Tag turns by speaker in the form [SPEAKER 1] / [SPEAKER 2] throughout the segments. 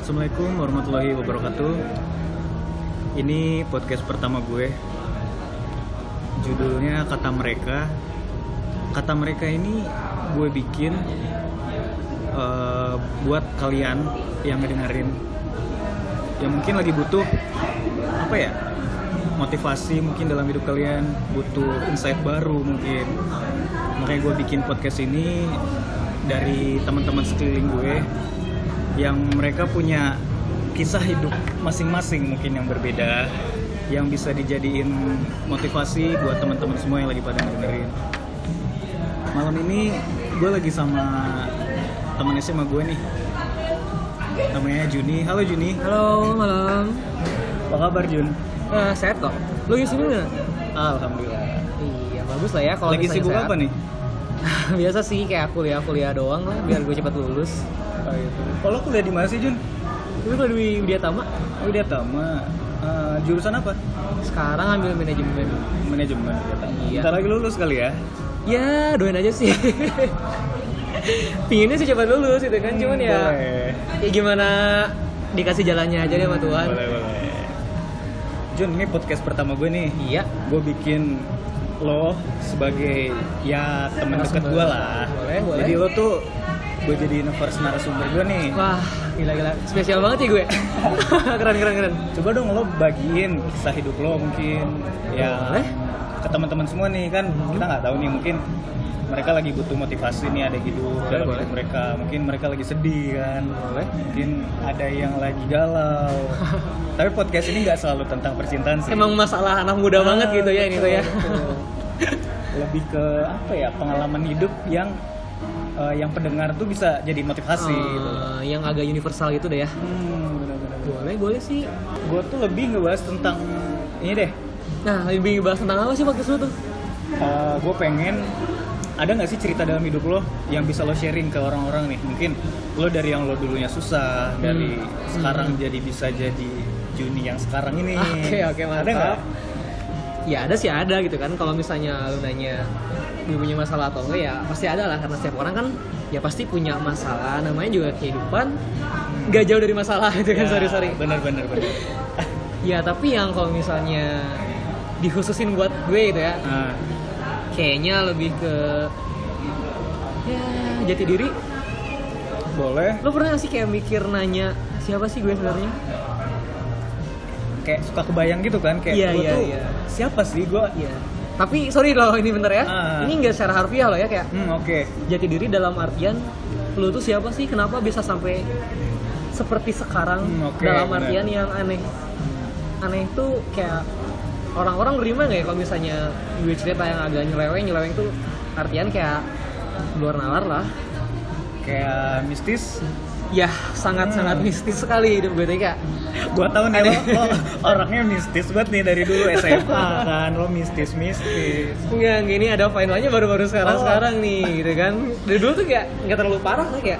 [SPEAKER 1] Assalamualaikum warahmatullahi wabarakatuh. Ini podcast pertama gue. Judulnya Kata Mereka. Kata Mereka ini gue bikin eh, buat kalian yang ngedengerin yang mungkin lagi butuh apa ya? Motivasi mungkin dalam hidup kalian, butuh insight baru mungkin. Makanya gue bikin podcast ini dari teman-teman sekeliling gue yang mereka punya kisah hidup masing-masing mungkin yang berbeda yang bisa dijadiin motivasi buat teman-teman semua yang lagi pada dengerin malam ini gue lagi sama teman SMA gue nih namanya Juni halo Juni
[SPEAKER 2] Halo malam.
[SPEAKER 1] apa kabar Jun
[SPEAKER 2] Nah, sehat kok. Lu di sini nggak?
[SPEAKER 1] alhamdulillah
[SPEAKER 2] Iya bagus lah ya kalau
[SPEAKER 1] lagi
[SPEAKER 2] misalnya
[SPEAKER 1] sibuk
[SPEAKER 2] sehat.
[SPEAKER 1] apa nih
[SPEAKER 2] Biasa sih kayak kuliah-kuliah doang lah biar gue cepat lulus.
[SPEAKER 1] oh, gitu. kalau kuliah di mana sih Jun
[SPEAKER 2] Lu kalau di Widya Tama
[SPEAKER 1] kuliah Tama Eh, jurusan apa
[SPEAKER 2] sekarang ambil manajemen.
[SPEAKER 1] manajemen Widyatama.
[SPEAKER 2] Iya.
[SPEAKER 1] Bentar lagi lulus kali ya
[SPEAKER 2] Ya doain aja sih. Pinginnya sih cepat lulus gitu kan, cuman ya,
[SPEAKER 1] Boleh.
[SPEAKER 2] ya gimana dikasih jalannya aja deh sama Tuhan.
[SPEAKER 1] Boleh, boleh. Jun, ini podcast pertama gue nih.
[SPEAKER 2] Iya.
[SPEAKER 1] Gue bikin lo sebagai ya teman deket
[SPEAKER 2] Narasumber.
[SPEAKER 1] gue lah.
[SPEAKER 2] Boleh, boleh.
[SPEAKER 1] Jadi lo tuh gue jadi first narasumber gue nih.
[SPEAKER 2] Wah, gila-gila. Spesial banget ya gue. keren, keren, keren.
[SPEAKER 1] Coba dong lo bagiin kisah hidup lo mungkin ya
[SPEAKER 2] Boleh. Hmm.
[SPEAKER 1] ke teman-teman semua nih kan kita nggak tahu nih mungkin mereka lagi butuh motivasi nih ada hidup
[SPEAKER 2] Boleh,
[SPEAKER 1] dalam
[SPEAKER 2] boleh.
[SPEAKER 1] hidup mereka mungkin mereka lagi sedih kan
[SPEAKER 2] Boleh.
[SPEAKER 1] mungkin ada yang lagi galau tapi podcast ini nggak selalu tentang percintaan sih
[SPEAKER 2] Emang masalah anak muda banget
[SPEAKER 1] Ah,
[SPEAKER 2] gitu ya ini tuh ya.
[SPEAKER 1] betul, betul. lebih ke apa ya pengalaman hidup yang eh, yang pendengar tuh bisa jadi motivasi gitu.
[SPEAKER 2] Eh, yang agak universal gitu deh ya. Boleh, boleh sih.
[SPEAKER 1] gue tuh lebih ngebahas tentang ini deh
[SPEAKER 2] Nah, lebih bahas tentang apa sih podcast lu tuh?
[SPEAKER 1] gue Eh, pengen ada nggak sih cerita dalam hidup lo yang bisa lo sharing ke orang-orang nih mungkin lo dari yang lo dulunya susah dari
[SPEAKER 2] Hmm.
[SPEAKER 1] sekarang jadi bisa jadi Juni yang sekarang ini
[SPEAKER 2] Oke, oke,
[SPEAKER 1] Ada
[SPEAKER 2] mantap.
[SPEAKER 1] nggak?
[SPEAKER 2] Ya ada sih ada gitu kan. Kalau misalnya lu nanya gue punya masalah atau enggak ya pasti ada lah karena setiap orang kan ya pasti punya masalah namanya juga kehidupan nggak jauh dari masalah gitu kan
[SPEAKER 1] Ya,
[SPEAKER 2] sorry sorry
[SPEAKER 1] bener bener bener
[SPEAKER 2] ya tapi yang kalau misalnya dikhususin buat gue gitu ya
[SPEAKER 1] Ah,
[SPEAKER 2] kayaknya lebih ke ya jati diri
[SPEAKER 1] boleh
[SPEAKER 2] lo pernah gak sih kayak mikir nanya siapa sih gue sebenarnya
[SPEAKER 1] kayak suka kebayang gitu kan kayak
[SPEAKER 2] Iya,
[SPEAKER 1] gua
[SPEAKER 2] iya,
[SPEAKER 1] tuh
[SPEAKER 2] iya.
[SPEAKER 1] siapa sih gue
[SPEAKER 2] Iya. Tapi sorry loh ini bentar ya.
[SPEAKER 1] Ah.
[SPEAKER 2] Ini enggak secara harfiah loh ya kayak
[SPEAKER 1] hmm oke
[SPEAKER 2] jati diri dalam artian lu tuh siapa sih? Kenapa bisa sampai seperti sekarang
[SPEAKER 1] Hmm, oke,
[SPEAKER 2] dalam
[SPEAKER 1] benar.
[SPEAKER 2] artian yang aneh. Aneh itu kayak orang-orang nerima nggak ya kalau misalnya gue cerita yang agak nyeleweng nyeleweng tuh artian kayak luar nalar lah
[SPEAKER 1] kayak mistis
[SPEAKER 2] ya sangat
[SPEAKER 1] Hmm.
[SPEAKER 2] sangat mistis sekali hidup gue tuh kayak
[SPEAKER 1] gue tau nih lo,
[SPEAKER 2] Aneh.
[SPEAKER 1] lo orangnya mistis banget nih dari dulu SMA kan lo mistis mistis
[SPEAKER 2] Enggak, enggak, ini ada finalnya baru-baru sekarang-sekarang
[SPEAKER 1] Oh.
[SPEAKER 2] nih, gitu kan. Dari dulu tuh kayak nggak terlalu parah lah kayak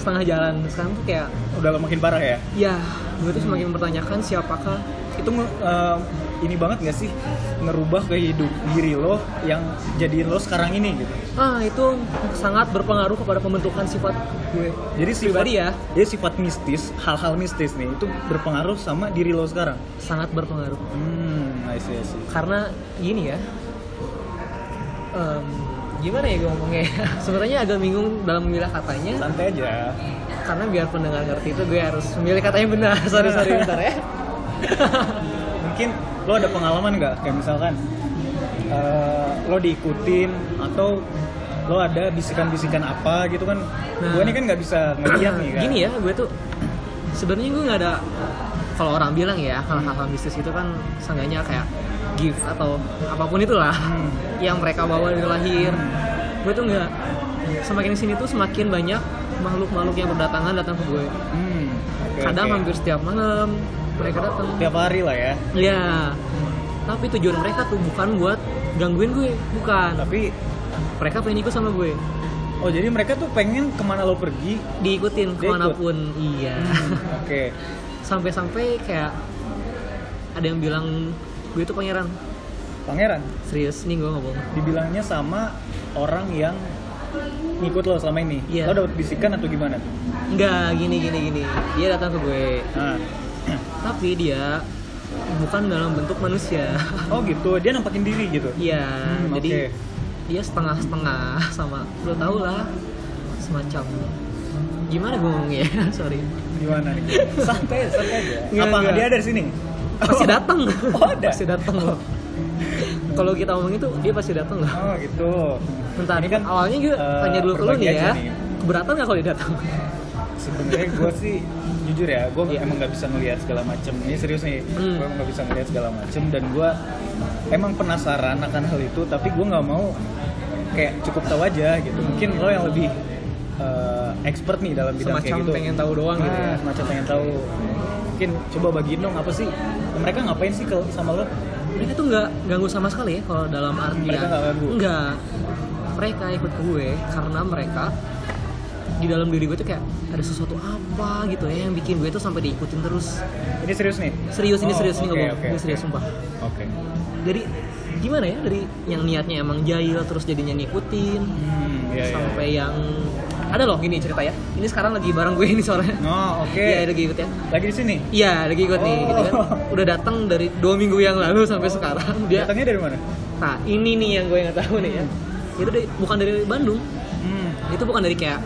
[SPEAKER 2] setengah jalan. Sekarang tuh kayak
[SPEAKER 1] udah makin parah ya
[SPEAKER 2] ya gue tuh semakin mempertanyakan siapakah
[SPEAKER 1] itu nge- eh, ini banget gak sih ngerubah ke hidup diri lo yang jadiin lo sekarang ini gitu
[SPEAKER 2] ah itu sangat berpengaruh kepada pembentukan sifat gue
[SPEAKER 1] jadi sifat
[SPEAKER 2] Pribadi ya.
[SPEAKER 1] jadi sifat mistis hal-hal mistis nih itu berpengaruh sama diri lo sekarang
[SPEAKER 2] sangat berpengaruh
[SPEAKER 1] hmm I see, I see.
[SPEAKER 2] karena gini ya em, gimana ya gue ngomongnya sebenarnya agak bingung dalam memilih katanya
[SPEAKER 1] santai aja
[SPEAKER 2] karena biar pendengar ngerti itu gue harus memilih katanya benar sorry sorry bentar ya
[SPEAKER 1] mungkin lo ada pengalaman nggak kayak misalkan eh, lo diikutin atau lo ada bisikan-bisikan apa gitu kan
[SPEAKER 2] Nah.
[SPEAKER 1] gue ini kan nggak bisa ngeliat nih kan
[SPEAKER 2] Gini ya, gue tuh sebenarnya gue nggak ada kalau orang bilang ya kalau
[SPEAKER 1] Hmm.
[SPEAKER 2] hal-hal mistis itu kan seenggaknya kayak gift atau apapun itulah
[SPEAKER 1] Hmm.
[SPEAKER 2] yang mereka bawa dari lahir. Gue tuh nggak semakin sini tuh semakin banyak makhluk-makhluk yang berdatangan datang ke gue.
[SPEAKER 1] Hmm, oke,
[SPEAKER 2] Kadang
[SPEAKER 1] oke.
[SPEAKER 2] hampir setiap malam mereka datang.
[SPEAKER 1] tiap hari lah ya
[SPEAKER 2] Ya, tapi tujuan mereka tuh bukan buat gangguin gue, bukan.
[SPEAKER 1] tapi
[SPEAKER 2] Mereka pengen ikut sama gue,
[SPEAKER 1] oh jadi mereka tuh pengen kemana lo pergi
[SPEAKER 2] diikutin kemanapun. Iya.
[SPEAKER 1] Hmm, oke
[SPEAKER 2] sampai-sampai kayak ada yang bilang gue itu pangeran
[SPEAKER 1] pangeran
[SPEAKER 2] serius nih gue ngomong
[SPEAKER 1] dibilangnya sama orang yang ngikut lo selama ini
[SPEAKER 2] Iya.
[SPEAKER 1] lo dapet bisikan atau gimana tuh
[SPEAKER 2] Enggak, gini gini gini. Dia datang ke gue,
[SPEAKER 1] Nah.
[SPEAKER 2] tapi dia bukan dalam bentuk manusia.
[SPEAKER 1] oh gitu dia nampakin diri gitu
[SPEAKER 2] Iya,
[SPEAKER 1] Hmm,
[SPEAKER 2] jadi
[SPEAKER 1] oke.
[SPEAKER 2] dia setengah-setengah sama lo tau lah semacam gimana gue ngomongnya sorry
[SPEAKER 1] gimana nih santai santai aja
[SPEAKER 2] Nggak,
[SPEAKER 1] apa
[SPEAKER 2] nggak.
[SPEAKER 1] dia ada di sini
[SPEAKER 2] pasti datang
[SPEAKER 1] Oh, ada.
[SPEAKER 2] pasti datang loh kalau kita ngomong itu dia pasti datang loh
[SPEAKER 1] oh gitu
[SPEAKER 2] Bentar,
[SPEAKER 1] Ini kan,
[SPEAKER 2] awalnya gue
[SPEAKER 1] eh,
[SPEAKER 2] tanya dulu ke lu
[SPEAKER 1] berbagi
[SPEAKER 2] nih
[SPEAKER 1] aja
[SPEAKER 2] ya.
[SPEAKER 1] nih.
[SPEAKER 2] Keberatan gak kalau dia datang?
[SPEAKER 1] sebenarnya gue sih jujur ya gue
[SPEAKER 2] Iya.
[SPEAKER 1] emang nggak bisa ngelihat segala macem ini serius nih
[SPEAKER 2] Hmm.
[SPEAKER 1] gue emang nggak bisa ngelihat segala macem dan gue emang penasaran akan hal itu tapi gue nggak mau kayak cukup tahu aja gitu mungkin lo yang lebih eh, expert nih dalam bidang
[SPEAKER 2] Semacam
[SPEAKER 1] kayak gitu
[SPEAKER 2] pengen tahu doang gitu
[SPEAKER 1] Ah,
[SPEAKER 2] ya.
[SPEAKER 1] semacam pengen tahu mungkin coba bagiin dong apa sih mereka ngapain sih ke sama lo
[SPEAKER 2] Mereka tuh nggak ganggu sama sekali ya kalau dalam artian.
[SPEAKER 1] Mereka nggak ganggu?
[SPEAKER 2] Nggak. Mereka ikut gue karena mereka di dalam diri gue tuh kayak ada sesuatu apa gitu ya yang bikin gue tuh sampai diikutin terus.
[SPEAKER 1] ini serius nih
[SPEAKER 2] Serius ini
[SPEAKER 1] Oh,
[SPEAKER 2] serius ini
[SPEAKER 1] oke,
[SPEAKER 2] ngomong.
[SPEAKER 1] oke,
[SPEAKER 2] Ini serius sumpah.
[SPEAKER 1] oke
[SPEAKER 2] Jadi gimana ya dari yang niatnya emang jahil terus jadinya ngikutin
[SPEAKER 1] Hmm, iya, iya,
[SPEAKER 2] sampai yang ada loh gini cerita ya. Ini sekarang lagi bareng gue ini soalnya.
[SPEAKER 1] iya. oh oke
[SPEAKER 2] Iya lagi ikut ya.
[SPEAKER 1] lagi di sini
[SPEAKER 2] Iya, lagi ikut nih, gitu kan.
[SPEAKER 1] Oh.
[SPEAKER 2] Udah datang dari dua minggu yang lalu sampai sekarang dia.
[SPEAKER 1] datangnya dari mana
[SPEAKER 2] Nah, ini nih yang gue nggak tahu nih ya. Itu dari- bukan dari Bandung,
[SPEAKER 1] hmm.
[SPEAKER 2] itu bukan dari kayak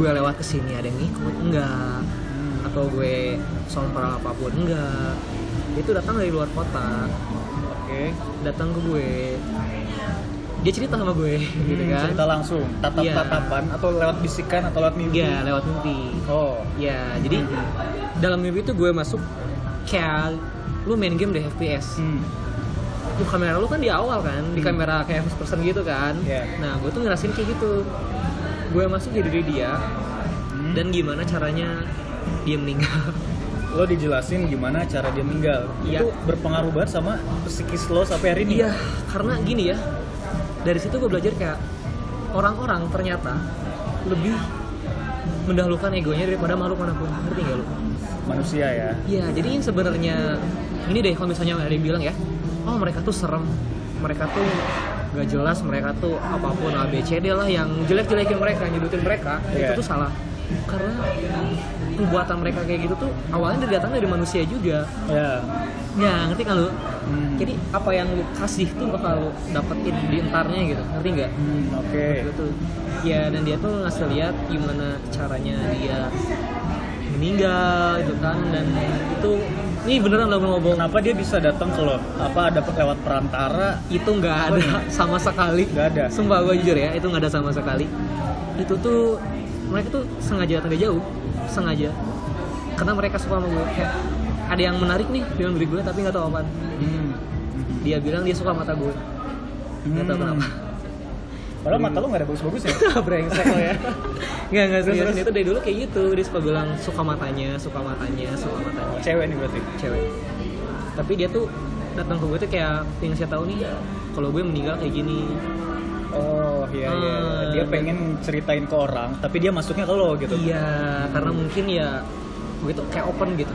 [SPEAKER 2] gue lewat ke sini ada yang ngikut, enggak.
[SPEAKER 1] Hmm.
[SPEAKER 2] Atau gue sompral apapun, enggak. Itu datang dari luar kota,
[SPEAKER 1] oke Hmm,
[SPEAKER 2] datang ke gue. Dia cerita sama gue, gitu
[SPEAKER 1] Hmm,
[SPEAKER 2] kan.
[SPEAKER 1] cerita langsung tatap tatapan atau lewat bisikan atau lewat mimpi
[SPEAKER 2] Iya, lewat mimpi.
[SPEAKER 1] oh
[SPEAKER 2] Ya, jadi
[SPEAKER 1] Hmm.
[SPEAKER 2] dalam mimpi itu gue masuk kayak lu main game deh FPS.
[SPEAKER 1] hmm.
[SPEAKER 2] Tuh, kamera lu kan di awal kan di
[SPEAKER 1] Hmm.
[SPEAKER 2] kamera kayak first person gitu kan
[SPEAKER 1] Iya.
[SPEAKER 2] nah gue tuh ngerasin kayak gitu gue masuk jadi diri dia
[SPEAKER 1] Hmm.
[SPEAKER 2] dan gimana caranya dia meninggal
[SPEAKER 1] lo dijelasin gimana cara dia meninggal
[SPEAKER 2] Iya.
[SPEAKER 1] itu berpengaruh banget sama psikis lo sampai hari ini
[SPEAKER 2] iya karena gini ya dari situ gue belajar kayak orang-orang ternyata lebih mendahulukan egonya daripada makhluk manapun ngerti gak lu?
[SPEAKER 1] manusia ya
[SPEAKER 2] Iya jadi yang sebenarnya ini deh kalau misalnya ada yang bilang ya oh mereka tuh serem mereka tuh gak jelas mereka tuh apapun ABCD lah yang jelek-jelekin mereka nyedutin mereka
[SPEAKER 1] Iya.
[SPEAKER 2] itu tuh salah karena perbuatan mereka kayak gitu tuh awalnya dari- datang dari manusia juga
[SPEAKER 1] ya
[SPEAKER 2] ya ngerti kan lu
[SPEAKER 1] Hmm.
[SPEAKER 2] jadi apa yang lu kasih tuh bakal lu dapetin di entarnya gitu ngerti nggak
[SPEAKER 1] Hmm, oke
[SPEAKER 2] gitu ya dan dia tuh ngasih lihat gimana caranya dia meninggal gitu kan dan itu ini beneran lo ngomong
[SPEAKER 1] kenapa dia bisa datang ke lo apa ada pe- lewat perantara
[SPEAKER 2] itu nggak
[SPEAKER 1] Oh,
[SPEAKER 2] ada
[SPEAKER 1] iya.
[SPEAKER 2] sama sekali
[SPEAKER 1] Nggak ada.
[SPEAKER 2] sumpah gue jujur ya itu nggak ada sama sekali itu tuh mereka tuh sengaja datang dari jauh sengaja karena mereka suka sama gue kayak ada yang menarik nih dalam diri gue tapi nggak tahu apaan
[SPEAKER 1] hmm.
[SPEAKER 2] dia bilang dia suka mata gue nggak tahu
[SPEAKER 1] Hmm.
[SPEAKER 2] kenapa
[SPEAKER 1] padahal mata lo nggak ada bagus-bagus ya
[SPEAKER 2] brengsek lo ya nggak nggak
[SPEAKER 1] Terus,
[SPEAKER 2] serius
[SPEAKER 1] terus.
[SPEAKER 2] itu dari dulu kayak gitu dia suka bilang suka matanya suka matanya suka matanya
[SPEAKER 1] Oh, cewek nih berarti
[SPEAKER 2] cewek tapi dia tuh datang ke gue tuh kayak pengen saya tahu nih kalau gue meninggal kayak gini
[SPEAKER 1] oh iya iya
[SPEAKER 2] Ah.
[SPEAKER 1] dia pengen ceritain ke orang tapi dia masuknya ke lo gitu
[SPEAKER 2] iya karena mungkin ya gue tuh kayak open gitu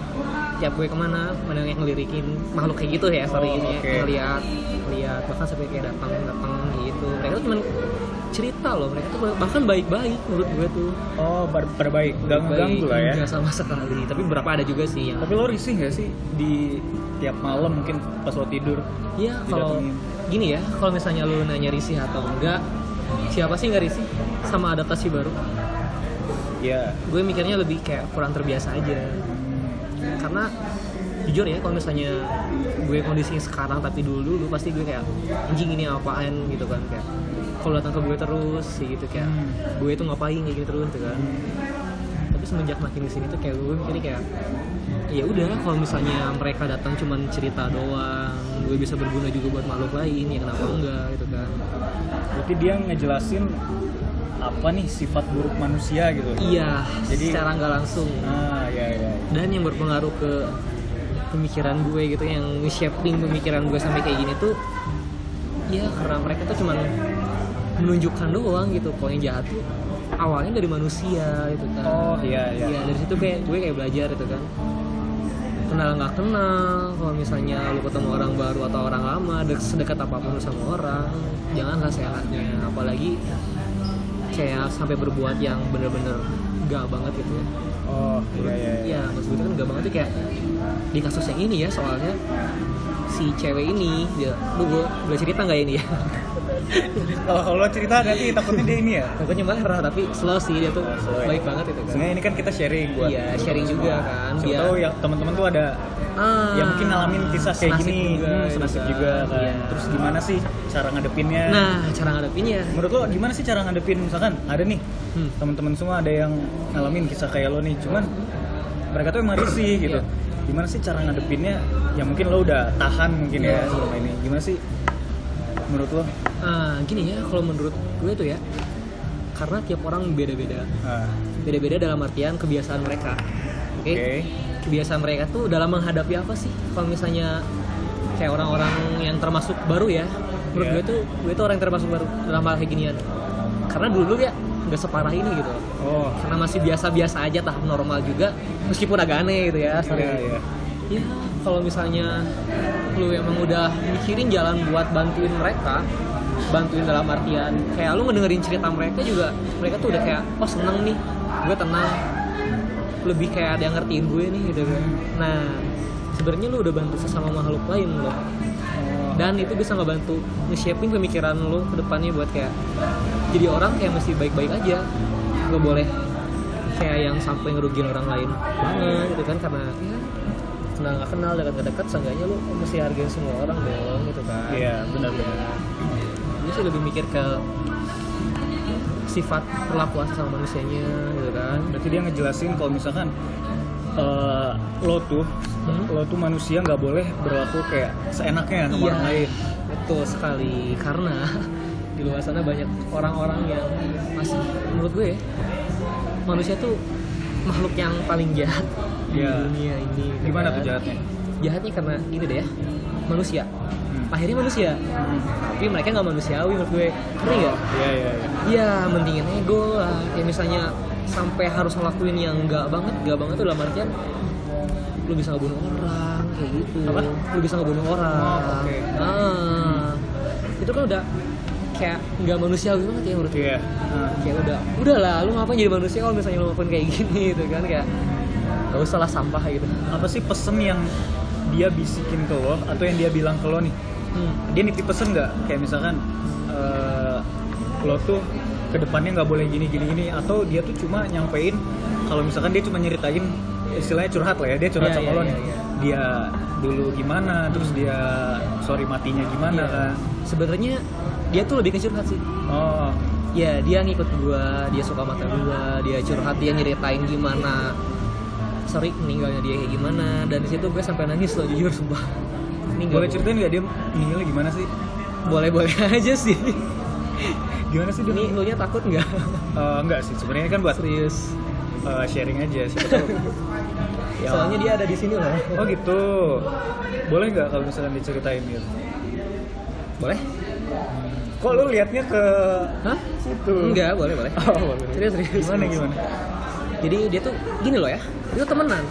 [SPEAKER 2] tiap gue kemana mana yang ngelirikin makhluk kayak gitu ya sorry
[SPEAKER 1] Oh,
[SPEAKER 2] ini
[SPEAKER 1] oke.
[SPEAKER 2] ya ngeliat ngeliat bahkan sampai kayak datang datang gitu mereka tuh cuman cerita loh mereka tuh bahkan baik-baik menurut gue tuh
[SPEAKER 1] oh ber- berbaik gak ngeganggu lah ya
[SPEAKER 2] Enggak sama sekali, tapi berapa ada juga sih yang
[SPEAKER 1] Tapi lo risih gak sih di tiap malam mungkin pas lo tidur?
[SPEAKER 2] Iya, kalau
[SPEAKER 1] Didatengin.
[SPEAKER 2] gini ya, kalau misalnya lu nanya risih atau enggak, siapa sih nggak risih sama adaptasi baru?
[SPEAKER 1] Iya.
[SPEAKER 2] Gue mikirnya lebih kayak kurang terbiasa aja.
[SPEAKER 1] Hmm.
[SPEAKER 2] Karena jujur ya, kalau misalnya gue kondisi sekarang tapi dulu dulu pasti gue kayak anjing ini apaan gitu kan kayak kalau datang ke gue terus sih gitu kayak
[SPEAKER 1] Hmm.
[SPEAKER 2] gue tuh ngapain kayak gitu terus gitu kan. Tapi semenjak makin kesini tuh kayak gue mikirnya kayak ya udah kalau misalnya mereka datang cuman cerita doang gue bisa berguna juga buat makhluk lain ya kenapa enggak gitu kan
[SPEAKER 1] Berarti dia ngejelasin apa nih sifat buruk manusia gitu.
[SPEAKER 2] iya
[SPEAKER 1] Jadi-
[SPEAKER 2] secara nggak langsung
[SPEAKER 1] Ah, iya iya.
[SPEAKER 2] dan yang berpengaruh ke pemikiran gue gitu yang shaping pemikiran gue sampai kayak gini tuh ya karena mereka tuh cuman menunjukkan doang gitu kalau yang jahat tuh awalnya dari manusia gitu kan
[SPEAKER 1] Oh, iya, iya.
[SPEAKER 2] Iya, dari situ kayak gue kayak belajar gitu kan kenal nggak kenal kalau misalnya lu ketemu orang baru atau orang lama dek- sedekat apapun lu sama orang jangan rahasia apalagi kayak sampai berbuat yang bener-bener gak banget gitu ya
[SPEAKER 3] oh iya iya iya
[SPEAKER 2] Iya, maksudnya kan gak banget tuh kayak di kasus yang ini ya soalnya si cewek ini dia lu gue boleh cerita nggak ini ya Iya.
[SPEAKER 1] Kalau kalau lo cerita nanti takutnya dia ini ya.
[SPEAKER 2] takutnya marah tapi slow sih dia tuh
[SPEAKER 3] Slow ya.
[SPEAKER 2] baik banget itu kan
[SPEAKER 1] Sebenarnya ini kan kita sharing buat
[SPEAKER 2] Iya, sharing juga kan,
[SPEAKER 1] Siapa
[SPEAKER 2] biar-
[SPEAKER 1] tahu ya teman-teman tuh ada
[SPEAKER 2] ah,
[SPEAKER 1] ya mungkin ngalamin kisah kayak
[SPEAKER 2] senasib
[SPEAKER 1] gini,
[SPEAKER 2] juga,
[SPEAKER 1] Hmm,
[SPEAKER 2] gitu
[SPEAKER 1] senasib
[SPEAKER 2] kan.
[SPEAKER 1] juga kan.
[SPEAKER 2] Iya.
[SPEAKER 1] Terus gimana sih cara ngadepinnya?
[SPEAKER 2] nah cara ngadepinnya
[SPEAKER 1] menurut lo gimana sih cara ngadepin misalkan ada nih
[SPEAKER 2] hmm.
[SPEAKER 1] teman-teman semua ada yang ngalamin kisah kayak lo nih, cuman mereka tuh emang risih gitu.
[SPEAKER 2] Iya.
[SPEAKER 1] Gimana sih cara ngadepinnya? Ya mungkin lo udah tahan mungkin ya
[SPEAKER 2] Iya.
[SPEAKER 1] selama ini. Gimana sih menurut lo?
[SPEAKER 2] Ah, gini ya kalau menurut gue tuh ya karena tiap orang beda-beda
[SPEAKER 1] Ah,
[SPEAKER 2] beda-beda dalam artian kebiasaan mereka oke
[SPEAKER 1] Oke.
[SPEAKER 2] kebiasaan mereka tuh dalam menghadapi apa sih kalau misalnya kayak orang-orang yang termasuk baru ya menurut
[SPEAKER 1] Iya.
[SPEAKER 2] gue tuh gue tuh orang yang termasuk baru dalam hal kayak ginian karena dulu ya nggak separah ini gitu loh.
[SPEAKER 1] Oh.
[SPEAKER 2] karena masih biasa-biasa aja tahap normal juga meskipun agak aneh gitu ya
[SPEAKER 1] Iya,
[SPEAKER 2] sebenarnya.
[SPEAKER 1] iya.
[SPEAKER 2] ya kalau misalnya lu emang udah mikirin jalan buat bantuin mereka bantuin dalam artian kayak lu ngedengerin cerita mereka juga mereka tuh udah kayak oh seneng nih gue tenang lebih kayak ada yang ngertiin gue nih gitu kan nah sebenarnya lu udah bantu sesama makhluk lain loh dan itu bisa ngebantu nge-shaping pemikiran lu ke depannya buat kayak jadi orang kayak mesti baik-baik aja gak boleh kayak yang sampai ngerugiin orang lain banget gitu kan karena ya kenal nggak kenal dekat-dekat seenggaknya lu mesti hargain semua orang dong gitu kan
[SPEAKER 1] Iya, benar-benar.
[SPEAKER 2] gue sih lebih mikir ke sifat perlakuan sama manusianya gitu kan
[SPEAKER 1] Berarti dia ngejelasin kalau misalkan eh, lo tuh
[SPEAKER 2] Hmm?
[SPEAKER 1] lo tuh manusia nggak boleh berlaku kayak seenaknya sama orang lain.
[SPEAKER 2] Iya. Betul sekali karena di luar sana banyak orang-orang yang masih menurut gue ya, manusia tuh makhluk yang paling jahat
[SPEAKER 1] Iya.
[SPEAKER 2] di dunia ini. gitu
[SPEAKER 1] Gimana
[SPEAKER 2] kan.
[SPEAKER 1] tuh jahatnya?
[SPEAKER 2] Jahatnya karena gini deh ya, manusia.
[SPEAKER 1] Hmm.
[SPEAKER 2] Akhirnya manusia, tapi mereka nggak manusiawi menurut gue. Ngerti nggak?
[SPEAKER 1] Iya iya iya.
[SPEAKER 2] Ya, mendingin ego lah. Kayak misalnya sampai harus ngelakuin yang enggak banget, enggak banget tuh dalam artian lu bisa ngebunuh orang kayak gitu.
[SPEAKER 1] Apa?
[SPEAKER 2] Lu bisa ngebunuh orang.
[SPEAKER 1] Oh, oke.
[SPEAKER 2] Ah. Itu kan udah kayak enggak manusiawi banget ya menurut gue.
[SPEAKER 1] Iya. Nah,
[SPEAKER 2] Kayak udah, udahlah lu ngapain jadi manusia kalau misalnya lu ngapain kayak gini gitu kan kayak gak usah lah sampah gitu.
[SPEAKER 1] Nah, Apa sih pesen yang dia bisikin ke lo atau yang dia bilang ke lo nih?
[SPEAKER 2] Hmm.
[SPEAKER 1] Dia nitip pesen nggak? Kayak misalkan eh, lo tuh kedepannya nggak boleh gini gini gini atau dia tuh cuma nyampein kalau misalkan dia cuma nyeritain istilahnya curhat lah ya dia curhat
[SPEAKER 2] Iya,
[SPEAKER 1] sama
[SPEAKER 2] iya,
[SPEAKER 1] lo
[SPEAKER 2] iya,
[SPEAKER 1] nih
[SPEAKER 2] iya.
[SPEAKER 1] dia dulu gimana terus dia sorry matinya gimana
[SPEAKER 2] Iya.
[SPEAKER 1] kan
[SPEAKER 2] Sebenarnya dia tuh lebih ke curhat sih.
[SPEAKER 1] Oh,
[SPEAKER 2] ya dia ngikut gua dia suka mata gua dia curhat dia nyeritain gimana sorry meninggalnya dia kayak gimana dan di situ gue sampai nangis loh jujur sumpah ini nggak
[SPEAKER 1] boleh ceritain nggak dia meninggalnya gimana sih?
[SPEAKER 2] boleh boleh aja sih
[SPEAKER 1] Gimana sih dia?
[SPEAKER 2] ini lu nya takut nggak
[SPEAKER 1] Eh, enggak sih, sebenarnya kan buat
[SPEAKER 2] serius
[SPEAKER 1] eh, sharing aja siapa tahu. Ya.
[SPEAKER 2] soalnya dia ada di sini loh
[SPEAKER 1] Oh gitu. Boleh nggak kalau misalkan diceritain gitu?
[SPEAKER 2] boleh
[SPEAKER 1] Kok lu liatnya ke
[SPEAKER 2] hah
[SPEAKER 1] situ?
[SPEAKER 2] enggak boleh boleh
[SPEAKER 1] Oh, boleh.
[SPEAKER 2] serius serius
[SPEAKER 1] Gimana gimana?
[SPEAKER 2] jadi dia tuh gini loh ya dia tuh temenan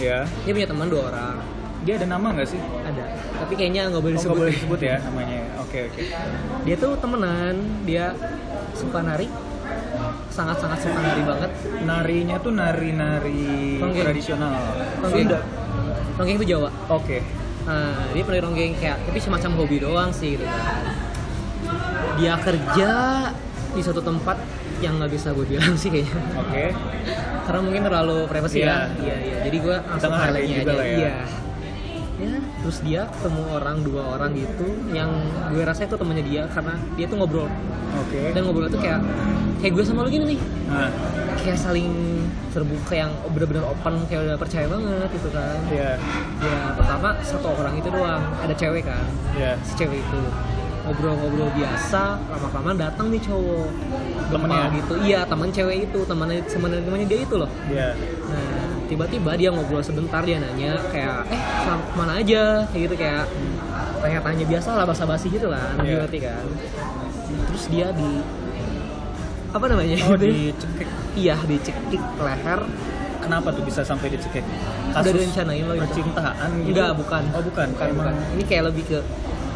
[SPEAKER 1] Ya.
[SPEAKER 2] dia punya teman dua orang
[SPEAKER 1] Dia ada nama nggak sih?
[SPEAKER 2] ada tapi kayaknya nggak boleh
[SPEAKER 1] Oh, nggak
[SPEAKER 2] disebut
[SPEAKER 1] boleh disebut ya namanya. Oke oke.
[SPEAKER 2] dia tuh temenan dia suka nari sangat sangat suka nari banget
[SPEAKER 1] Narinya tuh nari-nari
[SPEAKER 2] Ronggeng.
[SPEAKER 1] tradisional.
[SPEAKER 2] Ronggeng.
[SPEAKER 1] Sunda.
[SPEAKER 2] ronggeng itu jawa
[SPEAKER 1] Oke.
[SPEAKER 2] nah dia penari ronggeng kayak tapi semacam hobi doang sih gitu kan dia kerja di suatu tempat yang nggak bisa gue bilang sih kayaknya
[SPEAKER 1] Oke.
[SPEAKER 2] karena mungkin terlalu privasi
[SPEAKER 1] Iya.
[SPEAKER 2] ya iya iya jadi gue langsung
[SPEAKER 1] ngehargain
[SPEAKER 2] highlightnya
[SPEAKER 1] juga
[SPEAKER 2] aja
[SPEAKER 1] lah ya.
[SPEAKER 2] iya ya terus dia ketemu orang dua orang gitu yang gue rasa itu temennya dia karena dia tuh ngobrol
[SPEAKER 1] Oke.
[SPEAKER 2] dan ngobrol itu kayak kayak gue sama lu gini nih
[SPEAKER 1] Nah,
[SPEAKER 2] kayak saling terbuka yang bener-bener open kayak udah percaya banget gitu kan
[SPEAKER 1] ya,
[SPEAKER 2] ya pertama satu orang itu doang ada cewek kan
[SPEAKER 1] ya.
[SPEAKER 2] si cewek itu ngobrol-ngobrol biasa lama-lama datang nih cowok
[SPEAKER 1] Temennya.
[SPEAKER 2] Gempa gitu iya teman cewek itu temannya temannya temannya dia itu loh
[SPEAKER 1] Ya.
[SPEAKER 2] nah tiba-tiba dia ngobrol sebentar dia nanya kayak eh sam- mana aja kayak gitu kayak tanya-tanya biasa lah basa-basi gitu kan
[SPEAKER 1] Iya.
[SPEAKER 2] ngerti kan terus dia di apa namanya
[SPEAKER 1] Oh,
[SPEAKER 2] gitu?
[SPEAKER 1] dicekik.
[SPEAKER 2] iya dicekik leher
[SPEAKER 1] Kenapa tuh bisa sampai dicekik?
[SPEAKER 2] udah direncanain loh itu
[SPEAKER 1] percintaan gitu?
[SPEAKER 2] enggak bukan
[SPEAKER 1] Oh bukan,
[SPEAKER 2] bukan,
[SPEAKER 1] Emang-
[SPEAKER 2] bukan. ini kayak lebih ke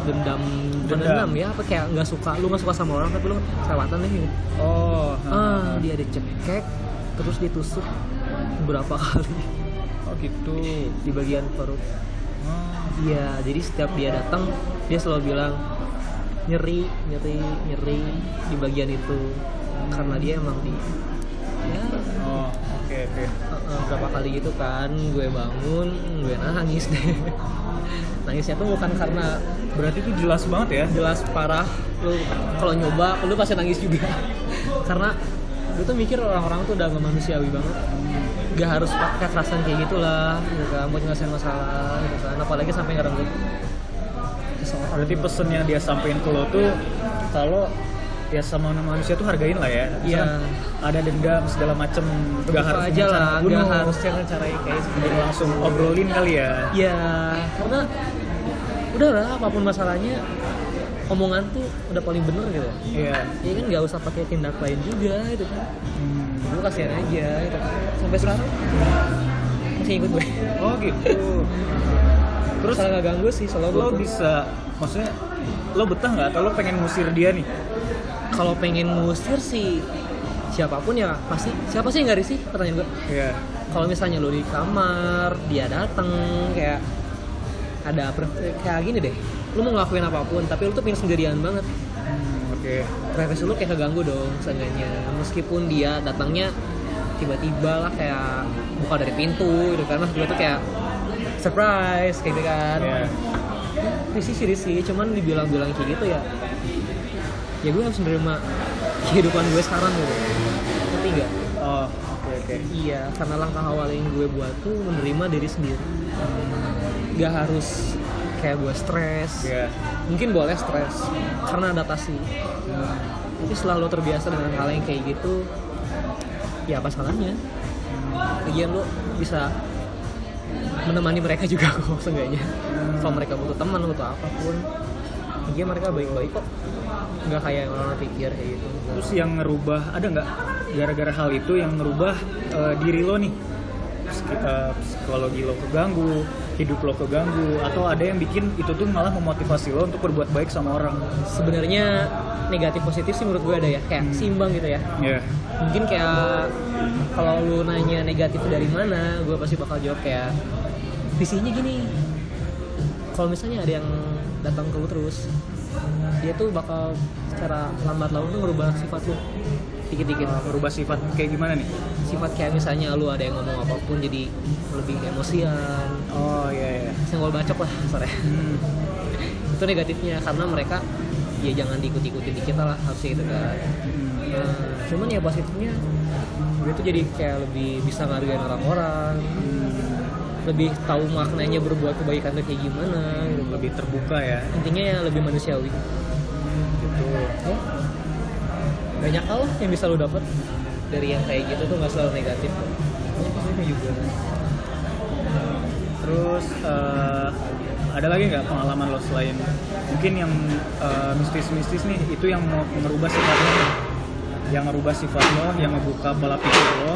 [SPEAKER 2] dendam bukan
[SPEAKER 1] Dendam.
[SPEAKER 2] dendam ya apa kayak nggak suka lu nggak suka sama orang tapi lu selewatan nih gitu.
[SPEAKER 1] Oh.
[SPEAKER 2] ah
[SPEAKER 1] ha.
[SPEAKER 2] dia dicekek terus ditusuk berapa kali
[SPEAKER 1] Oh gitu.
[SPEAKER 2] di bagian perut
[SPEAKER 1] Oh.
[SPEAKER 2] Iya, jadi setiap dia datang dia selalu bilang nyeri, nyeri, nyeri di bagian itu karena dia emang di ya
[SPEAKER 1] Oh, oke oke.
[SPEAKER 2] eh, berapa kali gitu kan gue bangun gue nangis deh nangisnya tuh bukan karena
[SPEAKER 1] Berarti itu jelas banget ya.
[SPEAKER 2] jelas parah lu kalau nyoba lu pasti nangis juga karena gue tuh mikir orang-orang tuh udah gak manusiawi banget gak harus pakai kekerasan kayak gitulah gitu kan buat nyelesain masalah gitu kan apalagi sampai ngerenggut seseorang
[SPEAKER 1] Berarti pesan yang dia sampaikan ke lo tuh kalau ya sama manusia tuh hargain lah ya.
[SPEAKER 2] Iya.
[SPEAKER 1] Misalkan Ada dendam segala macem.
[SPEAKER 2] Terbuka aja
[SPEAKER 1] dengan cara
[SPEAKER 2] lah,
[SPEAKER 1] bunuh.
[SPEAKER 2] gak harus cara cara kayak gitu.
[SPEAKER 1] Jadi
[SPEAKER 2] sebenarnya.
[SPEAKER 1] langsung obrolin kali ya.
[SPEAKER 2] Ya, karena udah lah apapun masalahnya omongan tuh udah paling bener gitu.
[SPEAKER 1] Iya.
[SPEAKER 2] Ya kan nggak usah pakai tindak lain juga gitu kan.
[SPEAKER 1] Hmm.
[SPEAKER 2] Gue kasihan aja gitu. Sampai sekarang masih ikut gue.
[SPEAKER 1] Oh gitu.
[SPEAKER 2] Terus kalau nggak ganggu sih selalu
[SPEAKER 1] lo bisa maksudnya lo betah nggak atau lo pengen ngusir dia nih?
[SPEAKER 2] kalau pengen ngusir sih siapapun ya pasti siapa sih yang nggak risih pertanyaan gue
[SPEAKER 1] Iya.
[SPEAKER 2] kalau misalnya lo di kamar dia dateng kayak ada pre- kayak gini deh lu mau ngelakuin apapun tapi lu tuh pengen sendirian banget
[SPEAKER 1] Hmm, oke.
[SPEAKER 2] privacy lu kayak keganggu dong seenggaknya meskipun dia datangnya tiba-tiba lah kayak buka dari pintu gitu kan mas gue tuh kayak surprise kayak gitu kan
[SPEAKER 1] Iya.
[SPEAKER 2] risih sih risih cuman dibilang-bilang kayak gitu ya ya gue harus menerima kehidupan gue sekarang gitu ketiga
[SPEAKER 1] Oh, oke oke.
[SPEAKER 2] Iya, karena langkah awal yang gue buat tuh menerima diri sendiri. Gak harus kayak gue stres.
[SPEAKER 1] Hmm, Iya.
[SPEAKER 2] Mungkin boleh stres karena adaptasi. Tapi selalu terbiasa dengan hal yang kayak gitu, ya apa salahnya?
[SPEAKER 1] Hmm.
[SPEAKER 2] Lagian lo bisa menemani mereka juga kok seenggaknya. Kalau mereka butuh teman butuh apapun, lagian mereka baik-baik kok. Nggak kayak yang orang pikir kayak gitu.
[SPEAKER 1] Terus yang ngerubah ada nggak gara-gara hal itu yang ngerubah eh, diri lo nih? Psik- eh, psikologi lo keganggu, hidup lo keganggu, atau ada yang bikin itu tuh malah memotivasi lo untuk berbuat baik sama orang?
[SPEAKER 2] Sebenarnya negatif positif sih menurut gue ada ya, kayak seimbang gitu ya.
[SPEAKER 1] Iya.
[SPEAKER 2] mungkin kayak kalau lu nanya negatif dari mana gue pasti bakal jawab kayak visinya gini kalau misalnya ada yang datang ke lu terus dia tuh bakal secara lambat laun tuh ngerubah sifat lu dikit-dikit
[SPEAKER 1] Gitu. Merubah sifat kayak gimana nih?
[SPEAKER 2] sifat kayak misalnya lu ada yang ngomong apapun jadi lebih emosian
[SPEAKER 1] Oh iya iya.
[SPEAKER 2] senggol bacok lah sore
[SPEAKER 1] Hmm.
[SPEAKER 2] itu negatifnya karena mereka ya jangan diikut-ikutin di kita lah harusnya gitu kan
[SPEAKER 1] Hmm.
[SPEAKER 2] Nah, cuman ya positifnya gue tuh jadi kayak lebih bisa ngargain orang-orang
[SPEAKER 1] hmm,
[SPEAKER 2] lebih tahu maknanya berbuat kebaikan tuh kayak gimana gitu.
[SPEAKER 1] Lebih terbuka ya.
[SPEAKER 2] intinya ya lebih manusiawi
[SPEAKER 1] Gitu.
[SPEAKER 2] ya banyak hal lah yang bisa lo dapet dari yang kayak gitu tuh nggak selalu negatif Banyak positifnya juga
[SPEAKER 1] Terus eh, ada lagi nggak pengalaman lo selain mungkin yang eh, mistis-mistis nih itu yang mau merubah sifat lo, yang merubah sifat lo, yang ngebuka pola pikir lo,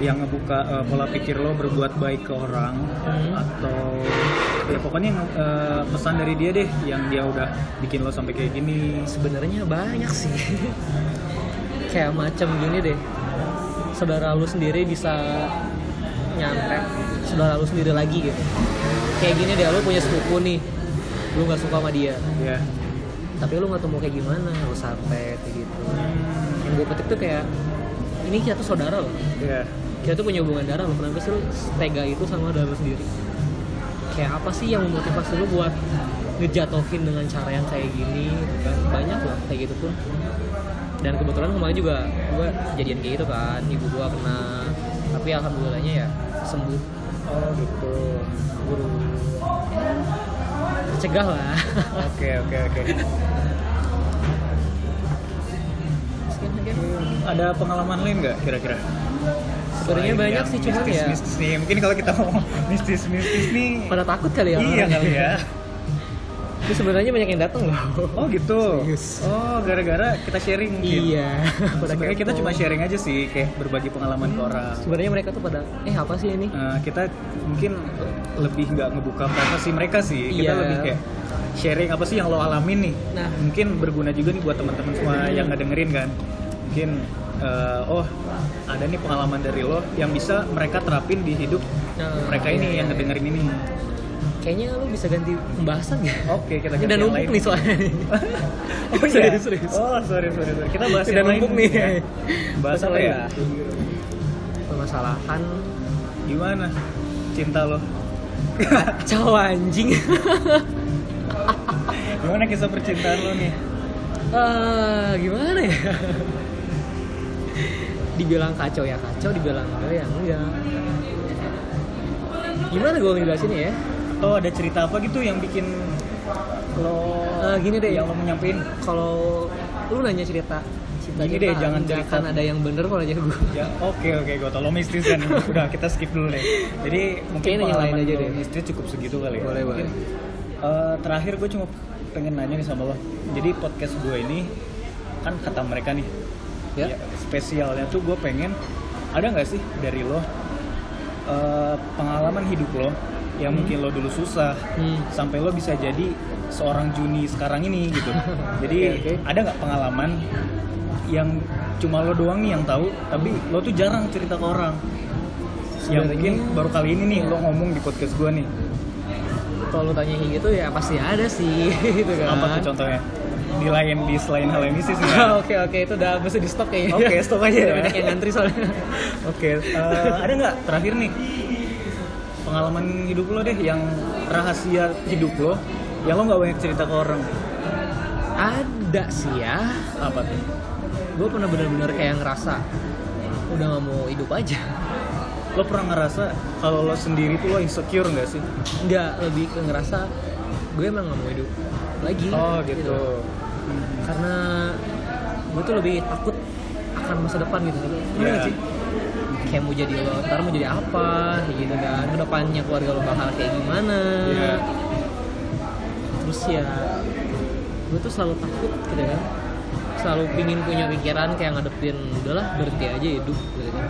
[SPEAKER 1] yang ngebuka eh, pola pikir lo berbuat baik ke orang
[SPEAKER 2] Hmm.
[SPEAKER 1] atau ya pokoknya yang, eh, pesan dari dia deh yang dia udah bikin lo sampai kayak gini.
[SPEAKER 2] sebenarnya banyak sih kayak macam gini deh saudara lu sendiri bisa nyantet saudara lu sendiri lagi gitu kayak gini deh lu punya sepupu nih lu nggak suka sama dia
[SPEAKER 1] Ya.
[SPEAKER 2] tapi lu nggak tahu mau kayak gimana lu santet kayak gitu yang gue petik tuh kayak ini kita tuh saudara loh
[SPEAKER 1] Ya.
[SPEAKER 2] kita tuh punya hubungan darah loh kenapa sih lu tega itu sama darah lu sendiri kayak apa sih yang memotivasi lu buat ngejatohin dengan cara yang kayak gini gitu kan banyak loh kayak gitu pun dan kebetulan kemarin juga gue jadian kayak gitu kan ibu gua kena tapi alhamdulillahnya ya sembuh
[SPEAKER 1] Oh gitu.
[SPEAKER 2] guru cegah lah
[SPEAKER 1] Oke oke oke.
[SPEAKER 2] Sekian, sekian.
[SPEAKER 1] Ada pengalaman lain nggak kira-kira?
[SPEAKER 2] sebenarnya
[SPEAKER 1] Selain
[SPEAKER 2] banyak
[SPEAKER 1] yang
[SPEAKER 2] sih cuman ya
[SPEAKER 1] mistis-mistis nih. Mungkin kalau kita ngomong mistis-mistis nih
[SPEAKER 2] pada takut kali ya
[SPEAKER 1] Iya
[SPEAKER 2] orang-orang.
[SPEAKER 1] kali ya
[SPEAKER 2] tapi sebenarnya banyak yang datang loh
[SPEAKER 1] Oh gitu
[SPEAKER 2] Serius.
[SPEAKER 1] Oh gara-gara kita sharing gitu.
[SPEAKER 2] iya Pada
[SPEAKER 1] Sebenarnya kita
[SPEAKER 2] kepo.
[SPEAKER 1] cuma sharing aja sih Kayak berbagi pengalaman ke orang Nah,
[SPEAKER 2] sebenarnya mereka tuh pada eh apa sih ini
[SPEAKER 1] Eh, Kita mungkin lebih nggak ngebuka privasi mereka sih Kita
[SPEAKER 2] Iya.
[SPEAKER 1] lebih kayak sharing apa sih yang lo alamin nih
[SPEAKER 2] Nah. Hmm.
[SPEAKER 1] mungkin berguna juga nih buat teman-teman semua yang ngedengerin kan mungkin eh, oh ada nih pengalaman dari lo yang bisa mereka terapin di hidup
[SPEAKER 2] Nah,
[SPEAKER 1] mereka
[SPEAKER 2] iya,
[SPEAKER 1] ini
[SPEAKER 2] iya,
[SPEAKER 1] yang
[SPEAKER 2] iya.
[SPEAKER 1] ngedengerin ini
[SPEAKER 2] Kayaknya lu bisa ganti pembahasan gak?
[SPEAKER 1] oke kita
[SPEAKER 2] Ini udah
[SPEAKER 1] ganti yang
[SPEAKER 2] numpuk
[SPEAKER 1] lain.
[SPEAKER 2] nih soalnya nih.
[SPEAKER 1] oh, iya.
[SPEAKER 2] Serius, serius.
[SPEAKER 1] oh sorry sorry sorry kita bahas
[SPEAKER 2] Udah
[SPEAKER 1] yang lain
[SPEAKER 2] numpuk nih.
[SPEAKER 1] ya. bahas
[SPEAKER 2] Bahas
[SPEAKER 1] apa
[SPEAKER 2] apa
[SPEAKER 1] ya
[SPEAKER 2] ya? Permasalahan
[SPEAKER 1] gimana cinta lo
[SPEAKER 2] kacau anjing.
[SPEAKER 1] gimana kisah percintaan lo nih
[SPEAKER 2] Eh, gimana ya? Dibilang kacau ya kacau, dibilang enggak ya enggak. Gimana gue ngejelasinnya ya?
[SPEAKER 1] Oh ada cerita apa gitu yang bikin lo
[SPEAKER 2] Eh, gini deh.
[SPEAKER 1] yang lo mau nyampein
[SPEAKER 2] Kalau lu nanya cerita cinta
[SPEAKER 1] Gini deh, jangan cerita.
[SPEAKER 2] cerita kan ada yang bener kalau nanya gue.
[SPEAKER 1] ya oke oke gue tau lo mistis kan udah kita skip dulu deh jadi mungkin
[SPEAKER 2] Kayaknya yang
[SPEAKER 1] pengalaman
[SPEAKER 2] lain aja
[SPEAKER 1] lo
[SPEAKER 2] deh.
[SPEAKER 1] mistis cukup segitu kali ya
[SPEAKER 2] Boleh,
[SPEAKER 1] Mungkin,
[SPEAKER 2] boleh.
[SPEAKER 1] eh, terakhir gue cuma pengen nanya nih sama lo jadi podcast gue ini kan kata mereka nih
[SPEAKER 2] Ya.
[SPEAKER 1] ya, spesialnya tuh gue pengen ada nggak sih dari lo eh, pengalaman hidup lo yang
[SPEAKER 2] Hmm.
[SPEAKER 1] mungkin lo dulu susah
[SPEAKER 2] Hmm.
[SPEAKER 1] sampai lo bisa jadi seorang Juni sekarang ini gitu. Jadi
[SPEAKER 2] Oke, oke.
[SPEAKER 1] ada nggak pengalaman yang cuma lo doang nih yang tahu, tapi lo tuh jarang cerita ke orang. Yang
[SPEAKER 2] Sebenarnya-
[SPEAKER 1] mungkin baru kali ini nih lo ngomong di podcast gue nih.
[SPEAKER 2] Kalau lu tanya kayak gitu ya pasti ada sih gitu kan.
[SPEAKER 1] Apa tuh contohnya? Di lain di selain hal yang mistis
[SPEAKER 2] Ah,
[SPEAKER 1] ya.
[SPEAKER 2] Oke oke itu udah mesti di stok kayaknya.
[SPEAKER 1] Oke, stop aja ya.
[SPEAKER 2] Udah Banyak yang ngantri soalnya.
[SPEAKER 1] Oke, eh, ada nggak terakhir nih pengalaman hidup lo deh yang rahasia hidup lo yang lo nggak banyak cerita ke orang
[SPEAKER 2] ada sih ya.
[SPEAKER 1] apa tuh?
[SPEAKER 2] Gue pernah bener-bener kayak ngerasa udah gak mau hidup aja.
[SPEAKER 1] Lo pernah ngerasa kalau lo sendiri tuh lo insecure nggak sih?
[SPEAKER 2] Nggak lebih ke ngerasa gue emang gak mau hidup lagi.
[SPEAKER 1] Oh gitu.
[SPEAKER 2] Karena gue tuh lebih takut akan masa depan gitu. Iya
[SPEAKER 1] Iya.
[SPEAKER 2] nggak sih? Kayak mau jadi lo, ntar mau jadi apa, kayak gitu kan. Kedepannya keluarga lo bakal kayak gimana.
[SPEAKER 1] Iya.
[SPEAKER 2] terus ya gue tuh selalu takut gitu kan selalu pingin punya pikiran kayak ngadepin udahlah berhenti aja hidup gitu kan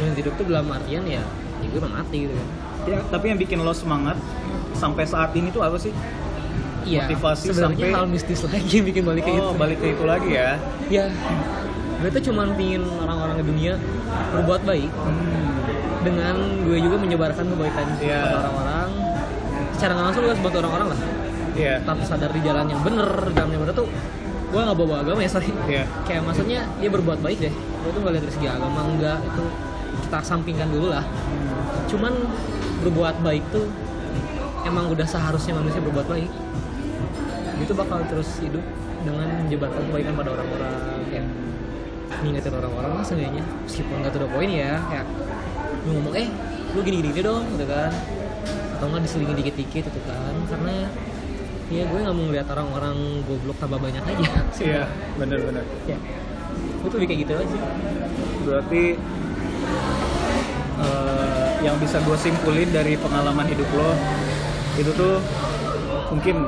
[SPEAKER 2] berhenti hidup tuh dalam artian ya ya gue udah mati gitu kan
[SPEAKER 1] Ya, tapi yang bikin lo semangat sampai saat ini tuh apa sih?
[SPEAKER 2] iya
[SPEAKER 1] Motivasi
[SPEAKER 2] sebenarnya
[SPEAKER 1] sampai-
[SPEAKER 2] hal mistis lagi yang bikin balik ke
[SPEAKER 1] oh,
[SPEAKER 2] itu
[SPEAKER 1] balik ke itu lagi ya.
[SPEAKER 2] ya gue tuh cuman pingin orang-orang di dunia berbuat baik
[SPEAKER 1] Hmm.
[SPEAKER 2] dengan gue juga menyebarkan kebaikan
[SPEAKER 1] Iya.
[SPEAKER 2] kepada orang-orang secara nggak langsung gue harus bantu orang-orang lah
[SPEAKER 1] Iya.
[SPEAKER 2] tetap sadar di jalan yang bener jalan yang bener tuh gue nggak bawa agama ya sorry
[SPEAKER 1] Iya.
[SPEAKER 2] kayak maksudnya ya berbuat baik deh gue tuh nggak lihat dari segi agama enggak itu kita sampingkan dulu lah cuman berbuat baik tuh emang udah seharusnya manusia berbuat baik itu bakal terus hidup dengan menyebarkan kebaikan pada orang-orang kayak ngingetin orang-orang lah seenggaknya meskipun nggak tuh poin ya kayak lu ngomong eh lu gini gini dong gitu kan atau nggak diselingin dikit-dikit gitu kan karena ya gue nggak mau ngeliat orang-orang goblok tambah banyak aja
[SPEAKER 1] Iya, benar-benar.
[SPEAKER 2] ya gue tuh lebih kayak gitu aja sih
[SPEAKER 1] Berarti eh, yang bisa gue simpulin dari pengalaman hidup lo itu tuh mungkin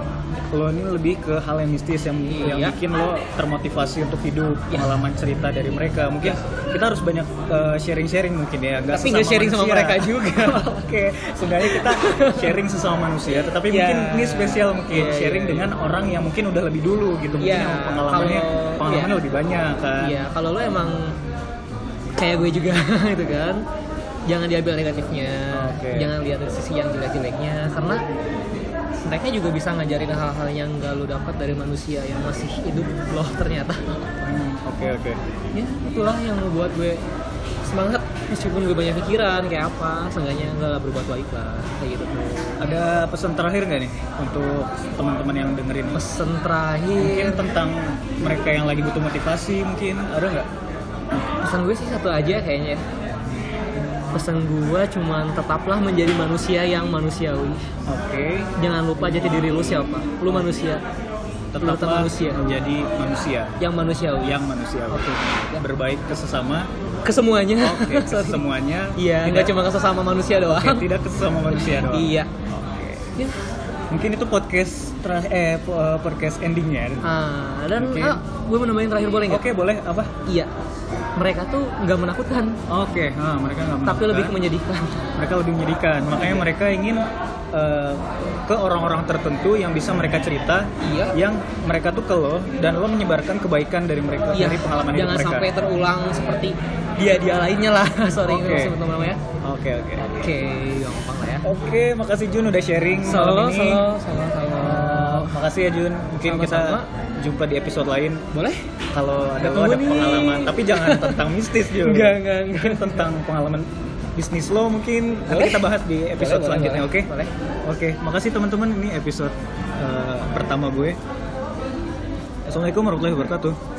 [SPEAKER 1] lo ini lebih ke hal yang mistis yang yang
[SPEAKER 2] Iya.
[SPEAKER 1] bikin lo termotivasi untuk hidup pengalaman cerita dari mereka mungkin kita harus banyak eh, sharing-sharing mungkin ya nggak
[SPEAKER 2] Iya. Tapi nggak
[SPEAKER 1] sesama
[SPEAKER 2] sharing sama
[SPEAKER 1] manusia.
[SPEAKER 2] mereka juga.
[SPEAKER 1] oke sebenarnya kita sharing sesama manusia tetapi
[SPEAKER 2] Iya.
[SPEAKER 1] mungkin ini spesial mungkin
[SPEAKER 2] Iya,
[SPEAKER 1] sharing
[SPEAKER 2] iya,
[SPEAKER 1] dengan orang yang mungkin udah lebih dulu gitu mungkin
[SPEAKER 2] Iya,
[SPEAKER 1] yang pengalamannya
[SPEAKER 2] kalau-
[SPEAKER 1] pengalamannya
[SPEAKER 2] iya.
[SPEAKER 1] lebih banyak kan
[SPEAKER 2] Iya, kalau lo emang kayak gue juga gitu kan. Jangan diambil negatifnya.
[SPEAKER 1] Oke.
[SPEAKER 2] Jangan lihat dari sisi yang jelek-jeleknya karena mereka juga bisa ngajarin hal-hal yang gak lo dapat dari manusia yang masih hidup loh ternyata.
[SPEAKER 1] Hmm, oke oke
[SPEAKER 2] Ya, itulah yang membuat gue semangat meskipun gue banyak pikiran kayak apa, seenggaknya enggak lah berbuat baik lah kayak gitu tuh.
[SPEAKER 1] Ada pesan terakhir nggak nih untuk teman-teman yang dengerin?
[SPEAKER 2] Pesan
[SPEAKER 1] Mungkin
[SPEAKER 2] terakhir
[SPEAKER 1] tentang mereka yang lagi butuh motivasi mungkin ada nggak?
[SPEAKER 2] pesan gue sih satu aja kayaknya pesan gue cuman tetaplah menjadi manusia yang manusiawi
[SPEAKER 1] Oke,
[SPEAKER 2] jangan lupa jati diri lu siapa lu manusia Lu tetap
[SPEAKER 1] tetaplah
[SPEAKER 2] manusia
[SPEAKER 1] menjadi manusia
[SPEAKER 2] yang manusiawi
[SPEAKER 1] yang manusia.
[SPEAKER 2] Oke.
[SPEAKER 1] Berbaik ke sesama,
[SPEAKER 2] kesemuanya
[SPEAKER 1] oke ke semuanya.
[SPEAKER 2] iya
[SPEAKER 1] tidak-
[SPEAKER 2] nggak cuma ke sesama manusia doang
[SPEAKER 1] oke, tidak ke sesama manusia doang.
[SPEAKER 2] iya
[SPEAKER 1] Oke.
[SPEAKER 2] Ya,
[SPEAKER 1] Mungkin itu podcast terakhir eh po- eh, podcast endingnya.
[SPEAKER 2] Ah, dan
[SPEAKER 1] Oke.
[SPEAKER 2] ah, gue menambahin terakhir boleh nggak?
[SPEAKER 1] Oke, boleh apa?
[SPEAKER 2] Iya. Mereka tuh nggak menakutkan,
[SPEAKER 1] Oke, ah, mereka nggak
[SPEAKER 2] tapi
[SPEAKER 1] menakutkan.
[SPEAKER 2] lebih ke menyedihkan.
[SPEAKER 1] mereka lebih menyedihkan. Makanya mereka ingin eh, ke orang-orang tertentu yang bisa mereka cerita,
[SPEAKER 2] Iya.
[SPEAKER 1] yang mereka tuh ke lo dan lo menyebarkan kebaikan dari mereka
[SPEAKER 2] Iya.
[SPEAKER 1] dari pengalaman hidup
[SPEAKER 2] Jangan
[SPEAKER 1] mereka.
[SPEAKER 2] sampai terulang seperti dia dia lainnya lah. Sorry,
[SPEAKER 1] Oke.
[SPEAKER 2] okay. sebut nama ya.
[SPEAKER 1] Oke, oke.
[SPEAKER 2] Oke, gampang lah ya.
[SPEAKER 1] Oke, makasih Jun udah sharing
[SPEAKER 2] Solo,
[SPEAKER 1] malam ini.
[SPEAKER 2] solo, solo, solo.
[SPEAKER 1] Eh, makasih ya Jun. Mungkin
[SPEAKER 2] Sama-sama.
[SPEAKER 1] kita jumpa di episode lain
[SPEAKER 2] Boleh?
[SPEAKER 1] kalau ada lo
[SPEAKER 2] Ketemu
[SPEAKER 1] ada
[SPEAKER 2] nih.
[SPEAKER 1] pengalaman, tapi jangan tentang mistis Jun.
[SPEAKER 2] Enggak, enggak, enggak.
[SPEAKER 1] Mungkin tentang pengalaman bisnis lo mungkin nanti
[SPEAKER 2] Boleh.
[SPEAKER 1] kita bahas di episode
[SPEAKER 2] Boleh, boleh,
[SPEAKER 1] selanjutnya, oke?
[SPEAKER 2] boleh. Boleh.
[SPEAKER 1] Oke, makasih teman-teman. Ini episode eh, pertama gue. Assalamualaikum warahmatullahi wabarakatuh.